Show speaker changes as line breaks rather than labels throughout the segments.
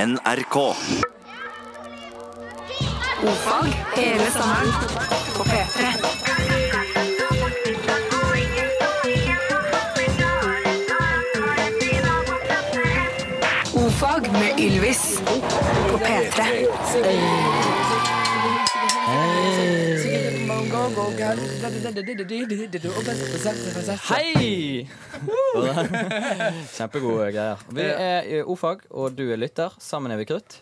NRK.
Fag hele sommeren på P3. Ofag med Ylvis på P3.
Hei! Kjempegode greier. Vi er i O-fag, og du er lytter. Sammen er vi krutt.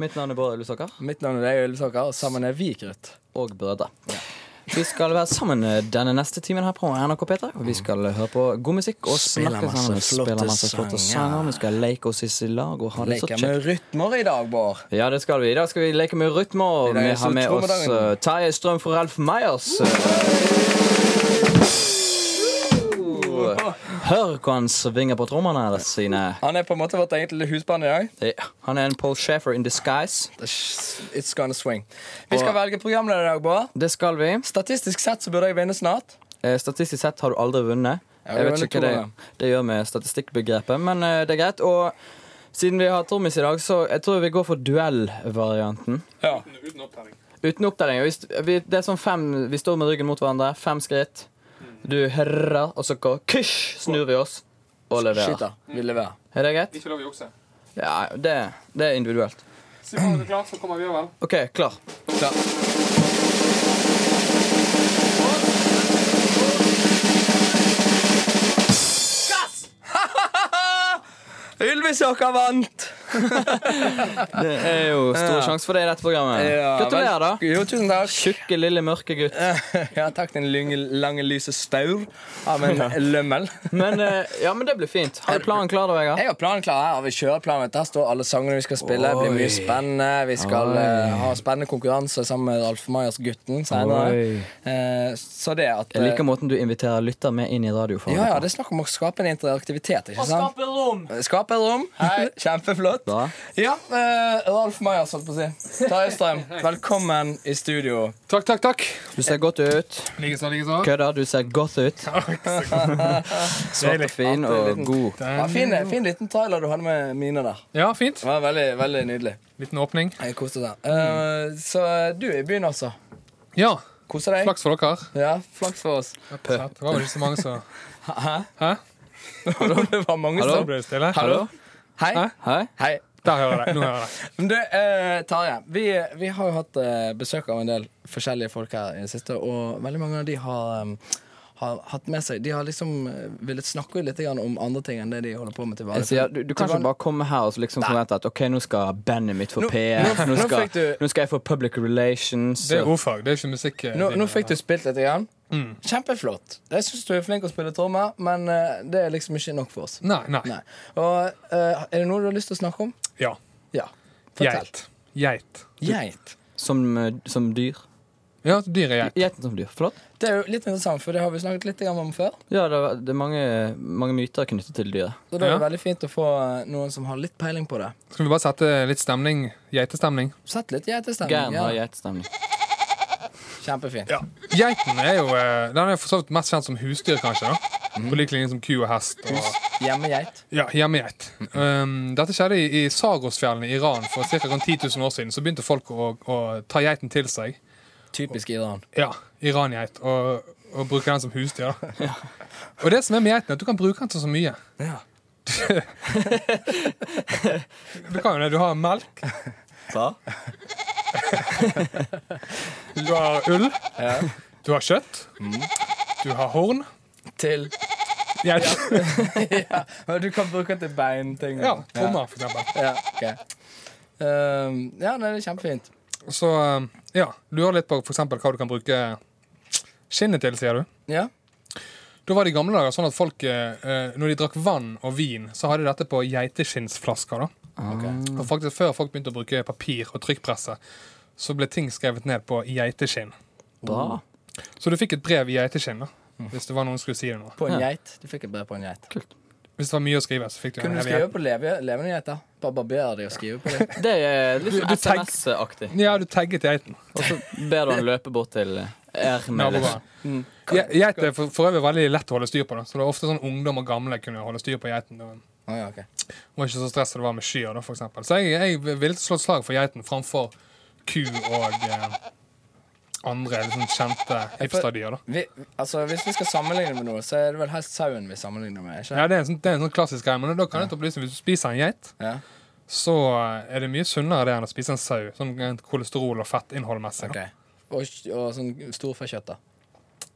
Mitt navn er Bård Ulvsaker.
Mitt navn er Ølsaker, og sammen er vi krutt.
Og Brødre. Vi skal være sammen denne neste timen her på NRK P3. Og vi skal høre på god musikk og
Spille Mm.
snakke
masse
sammen. Vi
flotte
Spiller masse flotte
sanger.
sanger. Vi skal leke oss i lag og ha det så
Leker
kjekt.
med rytmer i dag, Bård.
Ja, det skal vi. I dag skal vi leke med rytmer. Og
I dag er
vi
det
har med oss
trommedagen.
eh, Terje Strøm fra Ralf Meyers. Hør hva han svinger på trommene sine.
Han er på en måte vårt eget lille husband i dag.
Ja, Han er en Paul Schaefer in disguise.
It's gonna swing. Vi skal velge programleder i dag, Bård.
Det skal vi.
Statistisk sett så burde jeg vinne snart.
Eh, Statistisk sett har du aldri vunnet.
Ja, vi
Jeg
har
vet
vunnet to
ikke hva
ganger.
det, det gjør med statistikkbegrepet, men eh, det er greit. Og siden vi har trommis i dag, så jeg tror vi går for duellvarianten.
Ja.
Uten opptelling. og hvis- Vi, det er sånn fem, vi står med ryggen mot hverandre, fem skritt. Du hører, og så går kysj, snur vi oss og
Shit,
leverer.
da. Vi leverer.
Er det greit?
Ikke lov å jukse.
Ja, det, det er individuelt.
Si fra når du er klar, så kommer vi over.
OK, klar.
Klar. Ylvisåker vant!
Det er jo stor sjanse for det i dette programmet. Gratulerer, da.
Jo, tusen takk.
Tjukke, lille, mørke gutt.
Ja, takk til en lange, lange lyse staur av en lømmel.
Men, eh, ja, men det blir fint. Har du planen klar, da, Vegard?
Jeg har planen klar. her, og vi kjører planen. Der står alle sangene vi skal spille. Det blir
Oi.
mye spennende. Vi skal
Oi.
eh, ha spennende konkurranse sammen med Alf Meyers-gutten senere.
Oi.
Eh, så det at
Jeg
eh,
liker måten du inviterer lytter med inn i radioforholdet.
Ja, ja, det er snakk om å skape en interaktivitet, ikke sant? Eh,
rom!
Skape et rom. Kjempeflott.
Bra.
Ja, eh, Ralf Meyers, holdt på å si. Tarjei Strøm, velkommen i studio.
Takk, takk, takk.
Du ser godt ut.
Likeså, likeså.
Kødder, du ser godt ut. Svart og fin og god.
Ja, fin, fin liten trailer du hadde med Mina der.
Ja, fint.
Det var veldig, veldig nydelig.
Liten åpning.
Jeg koste meg. Eh, så eh, du er i byen, altså.
Ja,
Koser deg.
flaks for dere.
Ja, flaks for oss.
Det var vel ikke så mange som
det var mange
Da
som
ble det stille.
Hallo?
Hei.
Hæ?
Hei?
Hei.
Der hører jeg deg. Nå hører jeg deg.
Men du, eh, Tarjei. Vi, vi har jo hatt eh, besøk av en del forskjellige folk her i det siste, og veldig mange av de har em, har hatt med seg De har liksom eh, villet snakke litt grann om andre ting enn det de holder på med til
Jeg
vanlig.
sier, du, du kan ikke bare komme her og så liksom forvente at OK, nå skal bandet mitt få
Nå-
PR.
nå-
Nå
nå
skal,
fikk du-
nå skal jeg få public relations.
Det er ordfag, det er ikke musikk. eh,
Nå, nå
linje.
fikk du spilt litt. Grann. Kjempeflott. Jeg syns du er flink å spille trommer, men eh, det er liksom ikke nok for oss.
Nei, nei.
Nei. Og, eh, er det noe du har lyst til å snakke om?
Ja.
Ja. Fortell.
Geit. Geit.
Geit.
Som, eh, som dyr.
Ja, dyr er geit.
Geiten som dyr. Flott.
Det er jo litt interessant, for det har vi snakket litt grann om før.
Ja, det, er- det er mange, mange myter knyttet til dyret.
Så da er det
Ja.
veldig fint å få eh, noen som har litt peiling på det.
Skal vi bare sette litt stemning? Geitestemning.
Sett litt
Gæren
geitestemning.
har
Ja.
geitstemning.
Kjempefint.
Ja. Geiten er jo eh, Den er for så vidt mest kjent som husdyr, kanskje. da. På lik linje som ku og hest. Og
Hjemmegeit.
Ja, hjemmegeit. Um, dette skjedde i, i Sarosfjellene i Iran for ca. 10 000 år siden. Så begynte folk å, å ta geiten til seg.
Typisk Iran.
Ja, irangeit. Og, og bruke den som husdyr. da. Og det som er med geiten, er at du kan bruke den til så mye.
Ja.
Du kan jo det. Du har melk,
Hva?
du har ull, du har kjøtt, du har horn.
Til
Geit.
Og Du kan bruke den til beinting.
Ja, trommer, for eksempel.
Ja, ok. Ehm, ja, nei, det er kjempefint.
Så um, ja, lurer litt på for eksempel hva du kan bruke skinnet til, sier du.
Ja.
Da var det i gamle dager sånn at folk, eh, eh, når de drakk vann og vin, så hadde de dette på geiteskinnsflasker. da. Og faktisk Før folk begynte å bruke papir og trykkpresse, så ble ting skrevet ned på geiteskinn.
Bra.
Så du fikk et brev i geiteskinn da, hvis det var noen som skulle si det noe.
På en
Ja.
geit. Du fikk et brev på en geit.
Hvis det var mye å skrive, så fikk du
Kunne
en
du
hel
skrive
geit.
på leve, levende geiter? Bare barbere de og skrive på dem?
Det er litt
Du- du tenk-
SMS-aktig.
Ja, du tagget geiten.
Og så ber du han løpe bort til eh, Ermel.
Nabobarn.
Mm.
Ge- Geit er for, for øvrig veldig lett å holde styr på, da. så det er ofte sånn ungdom og gamle kunne holde styr på geiten. Og
Ah, ja, ok.
Hun var ikke så stresset det var med skyer, da, for eksempel. Så jeg, jeg ville slå et slag for geiten framfor ku og eh, andre liksom, kjente hipsterdyr, da.
vi, altså, hvis vi skal sammenligne med noe, så er det vel helst sauen vi sammenligner med. ikke?
Ja, det er en sånn, det er en sånn klassisk greie, men da kan jeg ta opplysning hvis du spiser en geit,
Ja,
så eh, er det mye sunnere det enn å spise en sau. Sånn rent kolesterol- og fettinnholdmessig. da.
ok. Og, og sånn storfekjøtt, da.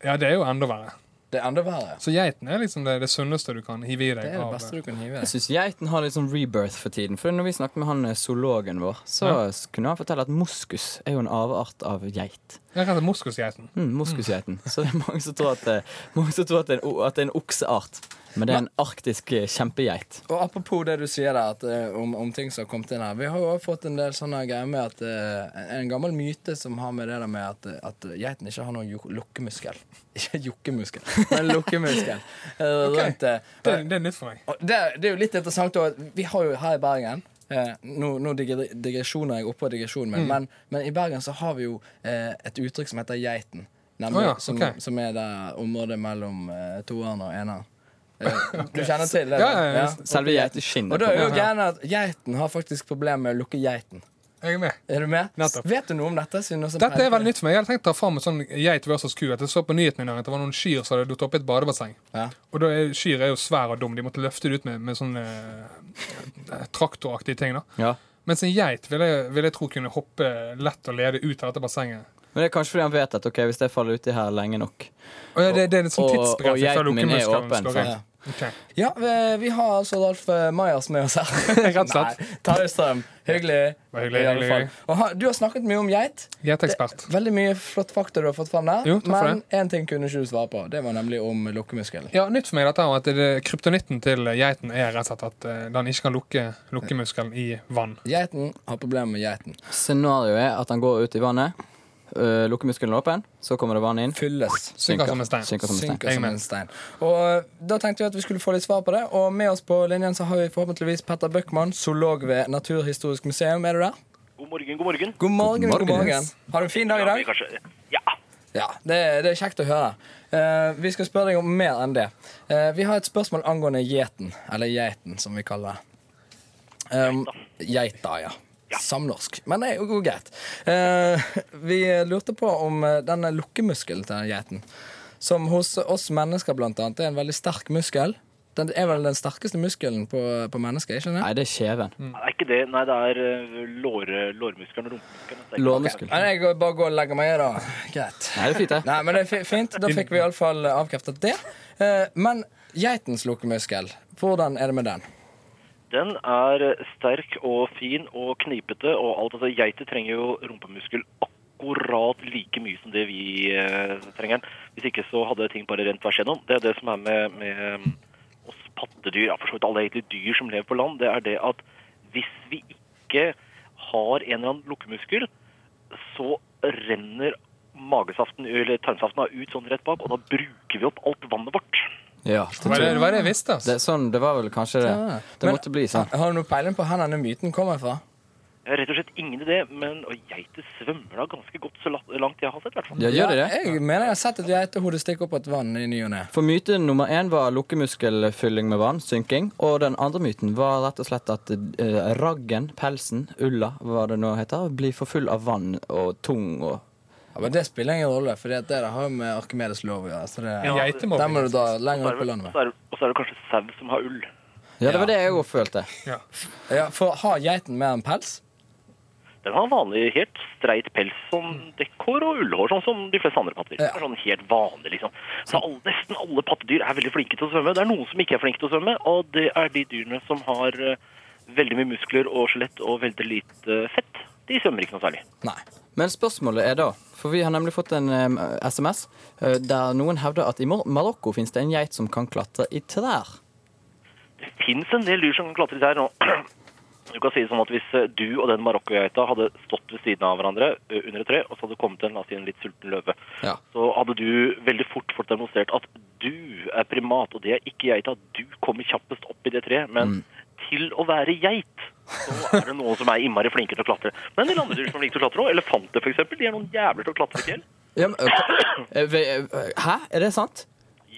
Ja, det er jo enda verre.
Det er enda verre.
Så geiten er liksom det, det sunneste du kan hive i deg.
Det er det
av-
beste du kan hive i
Jeg
deg.
syns geiten har litt sånn rebirth for tiden. For når vi snakket med han eh, zoologen vår, så s- kunne han fortelle at moskus er jo en avart av geit.
Jeg kaller det moskusgeiten.
Mm, moskusgeiten. Så det er mange som tror, at, eh, mange som tror at, det er en, o- at det er en okseart. Men det er en arktisk eh, kjempegeit.
Og apropos det du sier der, at, eh, om, om ting som har kommet inn her. Vi har jo også fått en del sånne greier med at eh, En gammel myte som har med det der med at, eh, at geiten ikke har noen juk- lukkemuskel. Ikke jukkemuskel, men lukkemuskel. Eh, rundt, eh,
Det, det er nytt for meg.
Og det, det er jo litt interessant også, at Vi har jo her i Bergen eh, Nå, nå digre- digresjoner jeg oppå digresjonen
Mm.
min, men, men i Bergen så har vi jo eh, et uttrykk som heter geiten. Nemlig,
Å ja,
som,
ok.
som er det området mellom eh, toeren og eneren. Eh, du kjenner til det?
Ja, ja, ja.
Selve
Og
geiteskinnet.
da er jo
Ja, ja.
greia at geiten har faktisk problemer med å lukke geiten.
Jeg er med.
Er du med?
Nettopp.
Vet du noe om dette? siden også-
Dette er veldig nytt for meg. Jeg hadde tenkt å ta fram en sånn geit versus ku. At jeg så på nyheten i dag at det var noen kyr som hadde dukket opp i et badebasseng.
Ja.
Og da er, kyr er jo svære og dumme. De måtte løfte det ut med, med sånn eh, traktoraktige ting. da.
Ja.
Mens en geit vil jeg, vil jeg tro kunne hoppe lett og lede ut av dette bassenget.
Men det er kanskje fordi han vet at ok, hvis jeg faller uti her lenge nok
Og ja, det, det er en
Og-
sånn
og
tidsbegrensning fra
geiten min er
lukkemuskelen
åpen,
slår inn. Ok.
Ja, vi, vi har altså Ralf eh, Majas med oss her.
Rett og slett.
Nei, Terje Strøm, hyggelig.
Var hyggelig,
i alle
hyggelig,
fall.
hyggelig.
Og ha, du har snakket mye om geit.
Geitekspert.
Veldig mye flott fakta du har fått fram der.
Jo, takk for
men én ting kunne ikke du svare på. Det var nemlig om lukkemuskelen.
Ja, Nytt for meg dette er at det- kryptonitten til geiten er rett og slett at eh, den ikke kan lukke lukkemuskelen i vann.
Geiten har problemer med geiten.
Scenarioet er at han går ut i vannet, øh, lukker muskelen åpen, så kommer det vann inn.
Fylles.
Synker som en stein.
Synker som en stein.
Synker
Jeg
som
mener.
en stein. Og eh, da tenkte vi at vi skulle få litt svar på det. Og med oss på linjen så har vi forhåpentligvis Petter Bøckmann, zoolog ved Naturhistorisk museum. Er du der?
God morgen, god morgen.
God morgen.
God
God
morgen.
morgen. Har du en fin dag i
Ja, vi
dag?
kanskje- Ja.
Ja, det, det er kjekt å høre. Eh, vi skal spørre deg om mer enn det. Eh, vi har et spørsmål angående gjeten, eller geiten, som vi kaller det. Um, Geita, ja. Samnorsk. Men det er jo god greit. Eh, vi lurte på om eh, denne lukkemuskelen til den geiten, som hos oss mennesker blant annet er en veldig sterk muskel. Den er vel den sterkeste muskelen på, på mennesker, ikke sant?
Nei, det er
Mm.
kjeven.
Nei, ikke det. Nei, det er eh, låre, lårmuskelen og rumpemuskelen. Det er ikke-
Lårmuskel.
Men jeg går- bare går og legger meg i, da. Greit.
Nei, det er fint, det.
Nei, men det er fi- fint. Da fikk vi iallfall avkreftet det. Eh, Men geitens lukkemuskel, hvordan er det med den?
Den er sterk og fin og knipete og alt. Altså, geiter trenger jo rumpemuskel akkurat like mye som det vi eh, trenger. Hvis ikke så hadde ting bare rent tvers gjennom. Det er det som er med, med mm, oss pattedyr, ja, for så vidt alle egentlig dyr som lever på land, det er det at hvis vi ikke har en eller annen lukkemuskel, så renner magesaften, eller tarmsaften da ut sånn rett bak, og da bruker vi opp alt vannet vårt.
Ja,
Det var det, det, var det jeg visste.
det,
Altså.
er sånn, det var vel kanskje det.
Ja.
Det
Ah. Men-
måtte bli sånn.
Har du noe peiling på hvor denne myten kommer fra?
Jeg har Eh, rett og slett ingen idé, men og geiter svømmer da ganske godt så la- langt jeg har sett, i hvert fall.
Ja, gjør de det?
Jeg mener jeg har sett et geitehode stikke opp et vann i ny og ne.
For myte nummer én var lukkemuskelfylling med vann, synking. Og den andre myten var rett og slett at eh, raggen, pelsen, ulla, hva det nå heter, blir for full av vann og tung og
Ja, men det spiller ingen rolle, for det der har jo med Arkimedes lov å gjøre. Så det,
En geitemobbing.
den må du dra
Så
lenger
er
opp i
det-
landet med.
så er det- Og så er det kanskje sau som har ull.
Ja, det var det jeg òg følte.
Ja.
Ja, for har geiten mer enn pels?
Den har vanlig helt streit pels, sånn dekkhår og ullhår, sånn som de fleste andre pattedyr.
Ja.
Det er Sånn helt vanlig, liksom. Så alle, nesten alle pattedyr er veldig flinke til å svømme. Det er noen som ikke er flinke til å svømme, og det er de dyrene som har eh, veldig mye muskler og skjelett og veldig lite fett. De svømmer ikke noe særlig.
Nei.
Men spørsmålet er da, for vi har nemlig fått en eh, SMS eh, der noen hevder at i Mar Marokko fins det en geit som kan klatre i trær.
Det finnes en del dyr som kan klatre i trær nå. Du kan si det sånn at Hvis eh, du og den marokkogeita hadde stått ved siden av hverandre ø, under et tre, og så hadde det kommet en, la oss si, en litt sulten løve,
Ja.
så hadde du veldig fort fått demonstrert at du er primat, og det er ikke geita. Du kommer kjappest opp i det treet.
Mm.
Men til å være geit, så er det noen som er innmari flinke til å klatre. Men de andre dyr som liker til å klatre òg, elefanter f.eks., de er noen jævler til å klatre i fjell.
Ja, men, ok. Eh, vi- eh, Hæ? eh, Er det sant?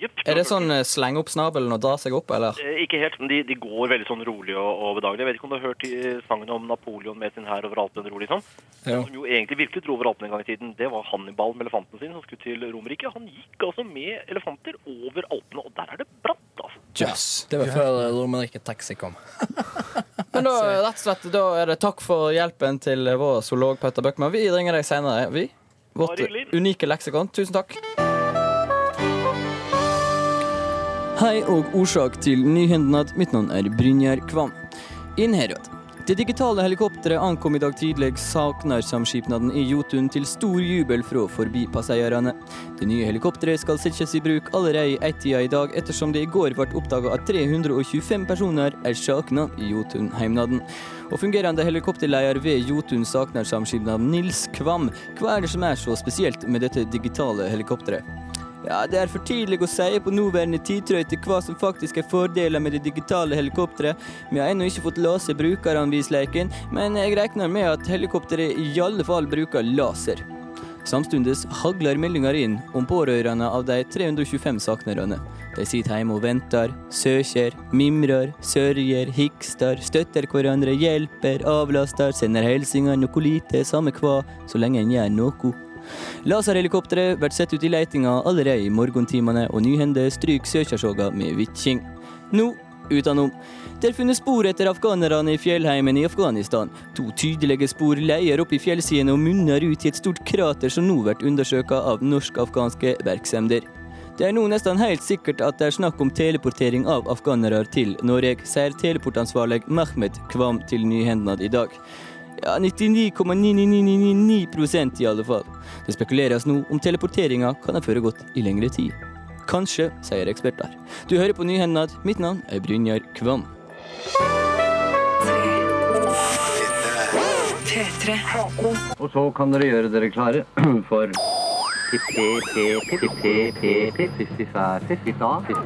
Jep.
Er det sånn eh, slenge opp snabelen og dra seg opp, eller?
Eh, Ikke helt, men de, de går veldig sånn rolig og, og bedagelig. Jeg vet ikke om du har hørt eh, sangen om Napoleon med sin hær over Alpen ror, liksom?
Jo.
Som jo egentlig virkelig dro over Alpen en gang i tiden. Det var Hannibal med elefanten sin som skulle til Romerike. Han gikk altså med elefanter over Alpene, og der er det bratt, altså.
Jøss.
Det var før Romerike Taxi kom.
Men da, rett og slett, da er det takk for hjelpen til vår zoolog Petter Bøckmann. Vi ringer deg senere, vi. Vårt
Bare hyggelig.
unike leksikon. Tusen takk. Hei og årsak til nyhendnad. Mitt navn er Brynjar Kvam. Inn herad. Det digitale helikopteret ankom i dag tidlig Saknarsamskipnaden i Jotun til stor jubel fra forbipasseierne. Det nye helikopteret skal settes i bruk allerede i ett-tida i dag, ettersom det i går ble oppdaga at 325 personer er sakna i Jotunheimnaden. Og fungerende helikopterleder ved Jotun Saknarsamskipnaden, Nils Kvam, hva er det som er så spesielt med dette digitale helikopteret? Ja, det er for tidlig å si på nåværende tidtrøyte hva som faktisk er fordeler med det digitale helikopteret. Vi har ennå ikke fått lese brukeranvisleiken, men jeg regner med at helikopteret i alle fall bruker laser. Samtidig hagler meldinger inn om pårørende av de 325 savnerne. De sitter hjemme og venter, søker, mimrer, sørger, hikster, støtter hverandre, hjelper, avlaster, sender hilsener, noe lite, samme hva, så lenge en gjør noe. Laserhelikopteret blir satt ut i letinga allerede i morgentimene, og nyhende stryker søkersoga med vitking. Nå utenom. Der funnet spor etter afghanerne i fjellheimen i Afghanistan. To tydelige spor leier opp i fjellsidene og munner ut i et stort krater som nå blir undersøkt av norsk-afghanske virksomheter. Det er nå nesten helt sikkert at det er snakk om teleportering av afghanere til Norge, sier teleportansvarlig Mehmet Kvam til Nyhendnad i dag. Ja, 99,99999 i alle fall. Det spekuleres nå om teleporteringa kan ha foregått i lengre tid. Kanskje, sier eksperter. Du hører på Nyhendnad. Mitt navn er Brynjar Kvam.
P3.
Og så kan dere gjøre dere klare for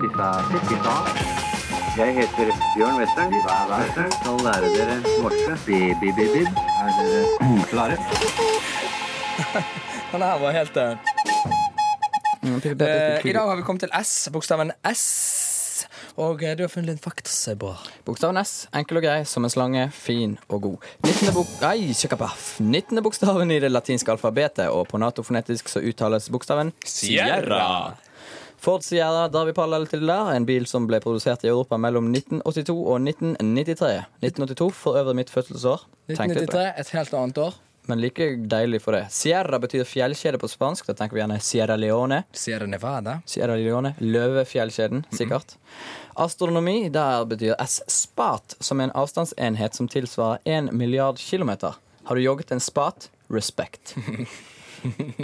Jeg heter Bjørn Western. Skal lære dere norske. Bi-bi-bi-bib. Er dere klare?
Den her var helt eh, eh, I dag har vi kommet til S, bokstaven S. Og eh, du har funnet en faktasebo.
Bokstaven S, enkel og grei som en slange, fin og god. 19. Bok Ai, kjøkkapaff. 19. bokstaven i det latinske alfabetet, og på natofonetisk så uttales bokstaven Sierra. Ford Sierra Darvipal eller til der, en bil som ble produsert i Europa mellom 1982 og 1993. 1982 for øvrig mitt fødselsår. Tenk litt på det.
1993, et helt annet år.
Men like deilig for det. Sierra betyr fjellkjede på spansk. Da tenker vi gjerne Sierra Leone.
Sierra Nevada.
Sierra Leone, Løvefjellkjeden, sikkert. Astronomi, der betyr S spat, som er en avstandsenhet som tilsvarer 1 milliard kilometer. Har du jogget en spat? Respect.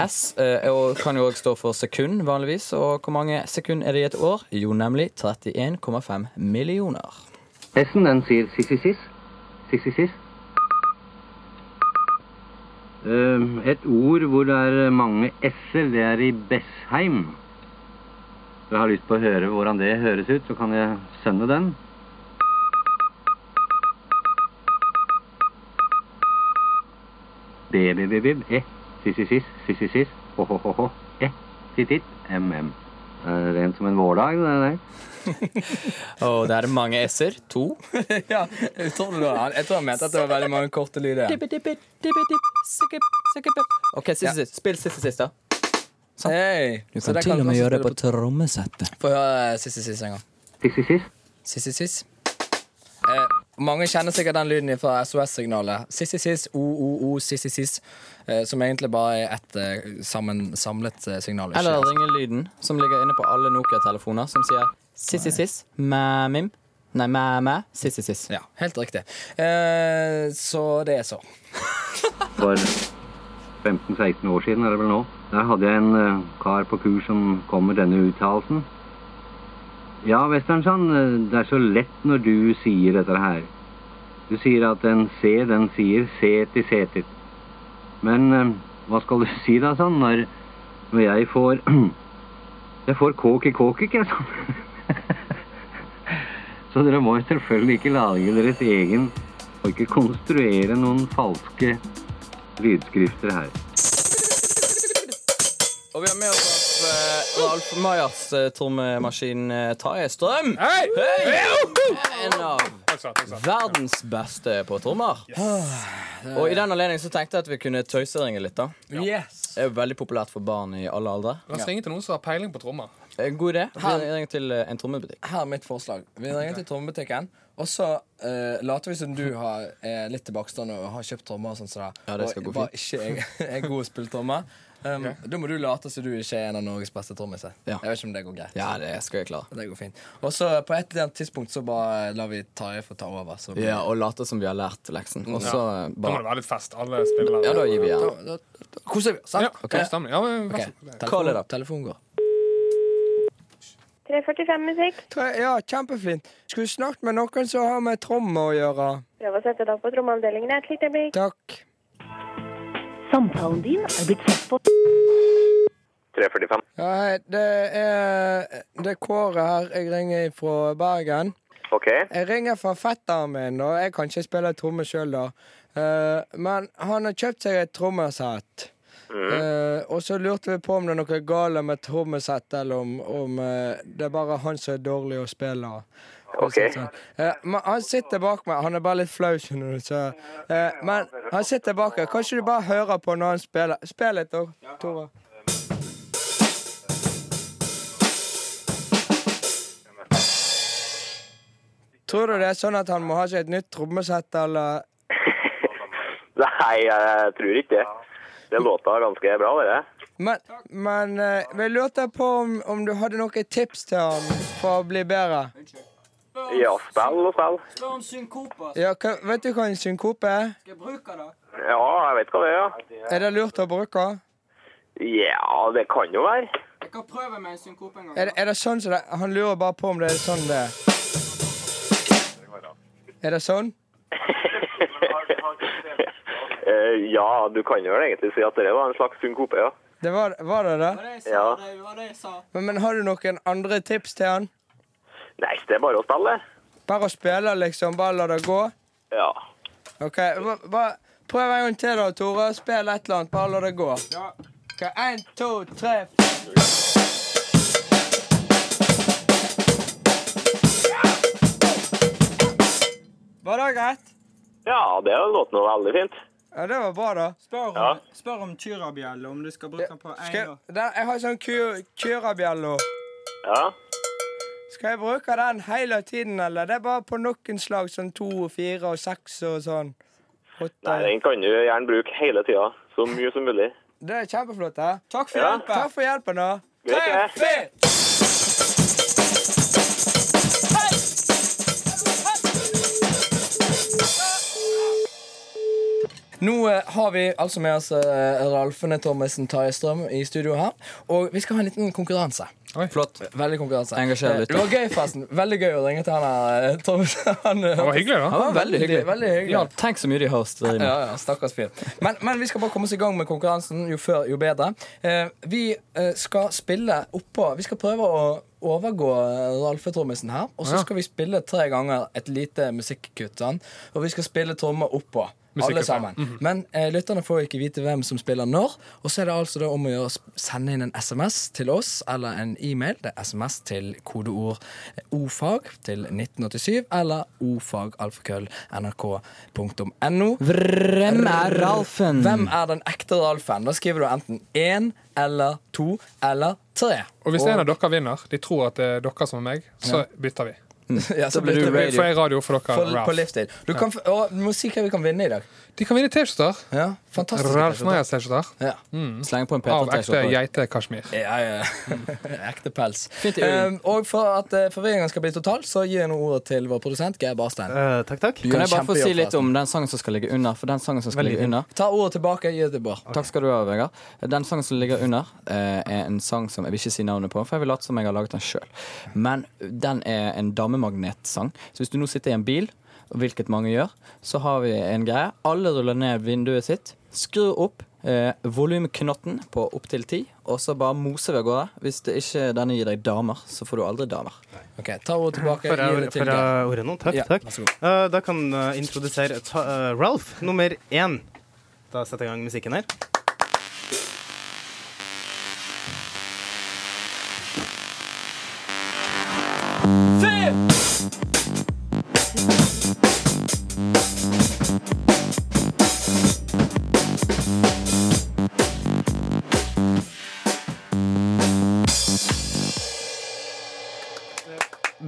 S eh, er jo- kan jo òg stå for sekund, vanligvis. Og hvor mange sekund er det i et år? Jo, nemlig 31,5 millioner.
S-en den sier sissisis. Sissisis. Um, et ord hvor det er mange s-er, det er i Bessheim. Hvis jeg har lyst på å høre hvordan det høres ut, så kan jeg sende den. Bebebebeb, e, sissisis, sissisis, ho-ho-ho-ho, e, tittit, mm. Det er Rent som en vårdag, det der.
Og det er mange S-er. To.
ja, jeg tror, det var, jeg tror jeg mente at det var veldig mange korte lyder.
OK, siste, siste. spill siste, siste.
Hey, så der kan også spille
trommesettet.
Få høre eh, siste siste en gang.
Sissisis.
Siss, siss, siss. Eh, mange kjenner sikkert den lyden fra SOS-signalet. Siss, siss, siss, o, o, o, siss, siss, siss. Eh, som egentlig bare er ett eh, sammen, samlet eh, signal. ikke?
Eller ringelyden som ligger inne på alle Nokia-telefoner, som sier siss-siss-siss, mæ-mim. Nei, mæ-mæ, siss-siss-siss.
Ja, helt riktig. Eh, så det er så.
for 15-16 år siden, er det vel nå. Der hadde jeg en eh, kar på kurs som kom med denne uttalelsen. Ja, Westernsand, eh, det er så lett når du sier dette her. Du sier at en C, den sier seti setit. Men eh, hva skal du si da, sånn, når, når jeg får Jeg får kåk i kåkik, jeg, sånn. så dere må jo selvfølgelig ikke lage deres egen og ikke konstruere noen falske lydskrifter her.
Og vi har med oss eh, Ralf Majas eh, trommemaskin eh, Tarjei Strøm.
Hei!
En av
Takk skal du ha.
verdens beste på trommer. Og i den anledning så tenkte jeg at vi kunne tøyseringe litt. da
Yes.
Det er jo veldig populært for barn i alle aldre.
La oss ringe til noen som har peiling på trommer.
Eh, God idé. Vi ringer til eh, en trommebutikk.
Her er mitt forslag. Vi ringer til trommebutikken, og så eh, later vi som du har, er litt tilbakestående og har kjøpt trommer og sånn. som det.
Ja, det skal
og
gå
bare ikke er, er god å spille trommer. Um, Da må du late som du ikke er en av Norges beste trommiser.
Ja.
Jeg vet ikke om det går greit.
Ja, det skal jeg klare.
Det går fint. Og så på et eller annet tidspunkt så bare lar vi Tarjei få ta over. Så blir-
Ja, Og late som vi har lært leksen. Og så eh,
Da må det
bare
være litt fest. Alle spiller.
Ja, da gir
da,
vi jern.
da, da koser vi oss, sant?
Ja, okay. stemmer. Ja, men, vær
Ok,
så god.
Call it
Telefon,
up.
telefon går.
345 musikk.
Ja, kjempefint. Skulle snakket med noen som har med trommer å gjøre.
Prøv å sette deg opp på trommeavdelingen et lite øyeblikk.
Takk.
Samtalen din er blitt satt på
345.
Ja, hei, det er, det er Kåre her. Jeg ringer fra Bergen.
Ok.
Jeg ringer fra fetteren min, og jeg kan ikke spille tromme sjøl, da. Eh, men han har kjøpt seg et trommesett. Eh, og så lurte vi på om det er noe galt med trommesettet, eller om, om eh, det er bare han som er dårlig å spille.
Ok.
Eh, men han sitter bak meg. Han er bare litt flau, skjønner du. Så, eh, men han sitter bak her. Kan ikke du bare høre på når han spiller? Spill litt, da, Tore. Tror du det er sånn at han må ha seg et nytt trommesett, eller
Nei, jeg tror ikke det. Det låta ganske bra, dere.
Men, men eh, vi lurte på om, om du hadde noen tips til ham for å bli bedre.
Ja, spill og spill.
Ja, hva, vet du hva en synkope er?
Ja, jeg vet hva det er. ja.
Er det lurt å bruke?
Ja, det kan jo være.
Er det, er det sånn som det, Han lurer bare på om det er sånn det er. Er det sånn?
Eh, ja, du kan jo vel egentlig si at det var en slags synkope, ja.
Det var, var det det?
ja.
Men, men har du noen andre tips til han?
Nei, det er bare å spille.
Bare å spille, liksom. Bare la det gå.
Ja.
Ok, hva- hva- Prøv en gang til, da, Tore. Spill et eller annet. Bare la det gå. Ok, En, to, tre, fire. Var det greit?
Ja, det låter noe veldig fint.
Ja, det var bra, da.
Ja.
Spør om kyrabjelle, om du skal bruke den på
Skal jeg, der, jeg har sånn ku- kyrabjello.
Ja.
Skal jeg bruke den hele tiden, eller? Det er bare på noen slag, sånn to og fire og seks og sånn.
Nei,
Åtte.
den kan du gjerne bruke hele tida. Så mye som mulig.
Det er kjempeflott, det.
Takk for
Ja.
hjelpen!
Takk for hjelpen, da.
Greit, det.
Nå eh, har vi altså med oss eh, Ralfene Thommessen Tarjei Strøm i studio her. Og vi skal ha en liten konkurranse.
Flott.
Veldig konkurranse.
Engasjer
Eh,
lytter.
Det var gøy, forresten. Veldig gøy å ringe til han her. eh, Thommessen. Han, eh,
Det var hyggelig, da.
Det var veldig hyggelig.
Veldig hyggelig.
Ja, tenk så mye de har å stri med.
Ja, ja, stakkars fyr. Men, men vi skal bare komme oss i gang med konkurransen. Jo før, jo bedre. Eh, vi eh, skal spille oppå Vi skal prøve å overgå eh, Ralfe Trommisen her. Og så skal vi spille tre ganger et lite musikkutt. sant? Og vi skal spille trommer oppå. Alle
Musikkutt, ja.
sammen. Men eh, lytterne får jo ikke vite hvem som spiller når. Og så er det altså da om å gjøre å sp- sende inn en SMS til oss eller en e-mail. Det er SMS til kodeord eh, ofag til 1987 eller ofagalfakøll.nrk.no.
Hvem er Ralfen?
Hvem er den ekte Ralfen? Da skriver du enten én eller to eller tre.
Og hvis en av dere vinner, de tror at det er dere som er meg, så bytter vi.
ja, så
Da blir
bytter
du
vi
For jeg er radio for dere,
for, på
Ralph.
livstid. Du, kan, f- å, du må si hva vi kan vinne i dag.
De kan vinne T-skjorter.
Ja, fantastisk.
Ralf Majas T-skjorter.
Ja.
Sleng på en
Av ekte
P3-T-skjorte.
geite-kasjmir.
Ja, ja. Ekte pels.
Fint i ølen.
Eh, og for at uh, forvirringen skal bli total, så gir jeg nå ordet til vår produsent Geir Barstein.
Eh, takk, takk.
Eh, Kan
Gjør
jeg bare få
kjempejobb,
si litt om den sangen som skal ligge under? For den sangen som skal ligge under
Ta ordet tilbake. Gi det til Bård.
Takk skal du ha, Vegard. Den sangen som ligger under, eh, er en sang som jeg vil ikke si navnet på, for jeg vil late som jeg har laget den sjøl. Men den er en damemagnetsang. Så hvis du nå sitter i en bil, hvilket mange gjør, så har vi en greie. Alle ruller ned vinduet sitt, skrur opp eh, volumknotten på opptil ti, og så bare moser vi av gårde. Hvis det ikke denne gir deg damer, så får du aldri damer.
Ok, Ta ordet tilbake.
For,
Gi det til Geir.
Eh, ordet nå. Takk,
Ja,
takk.
vær så god.
Eh, da kan jeg introdusere ta, eh, Ralph nummer én. Da setter jeg i gang musikken her.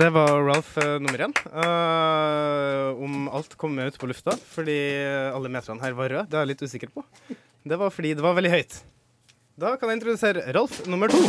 Det var Ralph eh, nummer én. Eh, om alt kommer ut på lufta, fordi alle meterne her var røde. Det er jeg litt usikker på. Det var fordi det var veldig høyt. Da kan jeg introdusere Ralf nummer to.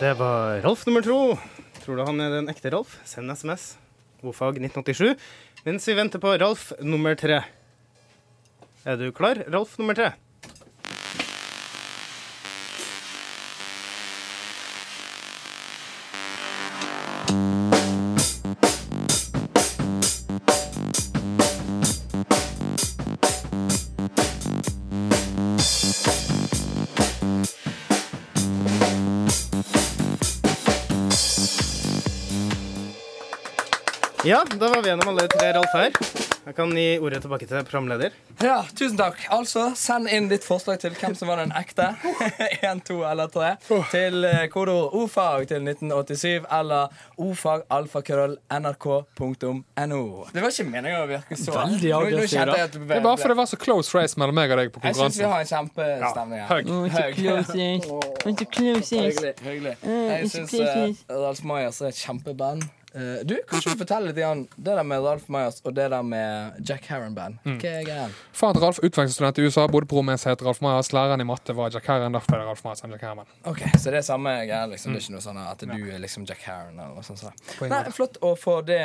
Det var Ralf nummer to. Tror du han er den ekte Ralf? Send SMS. Godfag 1987. Mens vi venter på Ralf nummer tre. Er du klar, Ralf nummer tre? Ja, da var vi gjennom alle tre Ralf her. Jeg kan gi ordet tilbake til programleder.
Ja, tusen takk. Altså, Send inn ditt forslag til hvem som var den ekte. Én, to eller tre. Til eh, kodeord ordfag til 1987 eller ordfagalfakrøll.nrk.no. Det var ikke meningen å virke så
Veldig
Nå- nå
aggressiv,
kjente
da.
jeg at
Det
ble-
er bare fordi det var så close race mellom meg og deg på
Jeg syns vi
konkurransen.
har en kjempestemning her.
Ja, høy.
Høy.
Ikke close
Hyggelig. hyggelig.
Eh,
Jeg
ikke
syns
close
Ralf Majas er et kjempeband. Eh, du, Kanskje du forteller litt grann det der med Ralf Majas og det der med Jack Harron-band. Hva
Mm.
er greia?
Faren til Ralf, utvekslingsstudent i USA, bodde på rommet mitt, het Ralf Majas. Læreren i matte var Jack Herren. Derfor er det Ralf Majas enn Jack Herman.
Ok, Så det er samme greia? liksom. Det er ikke noe sånn at du
Mm.
er liksom Jack Harron? eller noe sånt. sånn.
ingen
Nei, Flott å få det,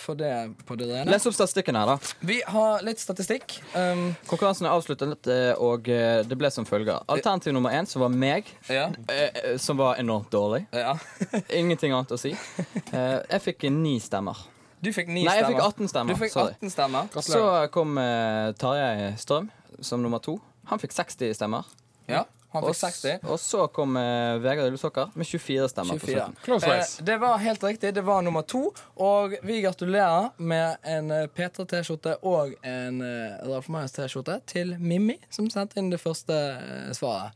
få det på det rene.
Les opp statistikken her, da.
Vi har litt statistikk. Um,
Konkurransen er avsluttet, eh, og eh, det ble som følger. Alternativ nummer én, som var meg, eh, eh, som var enormt dårlig. Ingenting annet å si. Eh, Jeg fikk eh, ni stemmer.
Du fikk ni
Nei, jeg fikk
stemmer.
18
Du
stemmer.
fikk
Sorry.
18 stemmer.
Så kom eh, Tarjei Strøm som nummer to. Han fikk 60 stemmer.
Ja, han fikk
Og s- Og så kom eh, Vegard Ullesåker med 24 stemmer. på
24.
slutten.
Eh, det var helt riktig. Det var nummer to. Og vi gratulerer med en eh, P3-T-skjorte og en eh, Ralf Majas-T-skjorte til Mimmi, som sendte inn det første eh, svaret.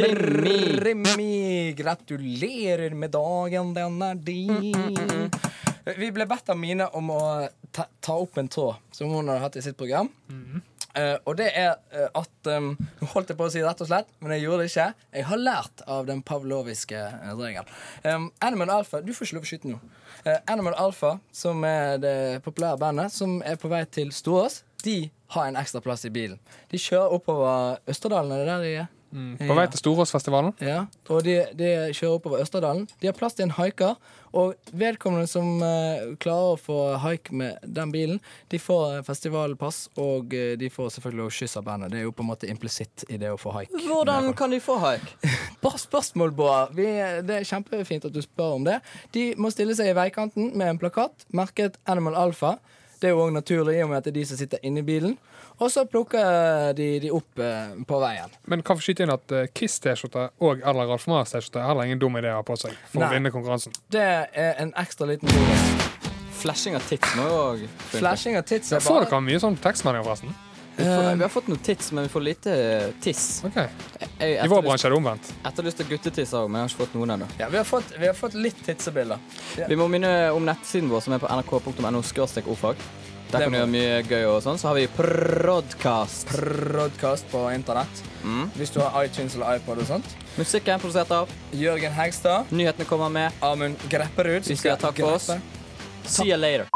Mrimmi.
Mrimmi. Gratulerer med dagen, den er din. Vi ble bedt av Mine om å ta, ta opp en tråd som hun har hatt i sitt program. Eh, og det er eh, at um, Nå holdt jeg på å si rett og slett, men jeg gjorde det ikke. Jeg har lært av den pavloviske eh, regelen. Um, Animal Alpha Du får ikke lov å skyte nå. Eh, Animal Alpha, som er det populære bandet, som er på vei til Storås, de har en ekstra plass i bilen. De kjører oppover Østerdalen, er det der de er?
Mm. På vei til Storåsfestivalen.
Ja, og de, de kjører oppover Østerdalen. De har plass til en haiker, og vedkommende som eh, klarer å få haik med den bilen, de får eh, festivalpass, og eh, de får selvfølgelig også skyss av bandet. Det er jo på en måte implisitt i det å få haik.
Hvordan kan de få haik?
Bra spørsmål, Båa. Vi- Det er kjempefint at du spør om det. De må stille seg i veikanten med en plakat merket Animal Alpha. Det er jo òg naturlig i og med at det er de som sitter inni bilen. Og så plukker de de opp eh, på veien.
Men kan få skyte inn at eh, Kiss-T-skjorte og eller Ralf Majas-T-skjorte er heller ingen dum idé å ha på seg for å
Nei.
vinne konkurransen.
Det er en ekstra liten bonus.
Flashing av tits nå òg.
Flashing av tits
Jeg så dere mye sånn tekstmeldinger, forresten.
Vi, får, Eh, vi har fått noe tits, men vi får lite eh, tiss. Jeg,
I vår bransje er det omvendt.
Etterlyst guttetits òg, men jeg har ikke fått noen ennå.
Ja, vi har fått, vi har fått litt titsebilder. Ja.
Vi må minne om nettsiden vår, som er på nrk.no ordfag. Der
Det
kan du
må
gjøre mye gøy og sånn. Så har vi Prodcast.
Prodcast på internett.
Mm.
Hvis du har iTunes eller iPod og sånt.
Musikken er produsert av
Jørgen Hegstad.
Nyhetene kommer med.
Amund Grepperud.
Vi sier takk for oss. See you later.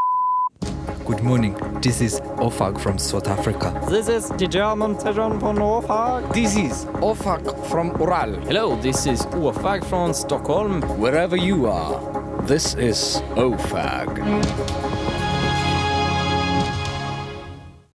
Good morning. This is Ofag from South Africa.
This is the German Tejan von Norfag.
This is Ofag from Ural.
Hello, this is Ofag from Stockholm.
Wherever you are, this is Ofag.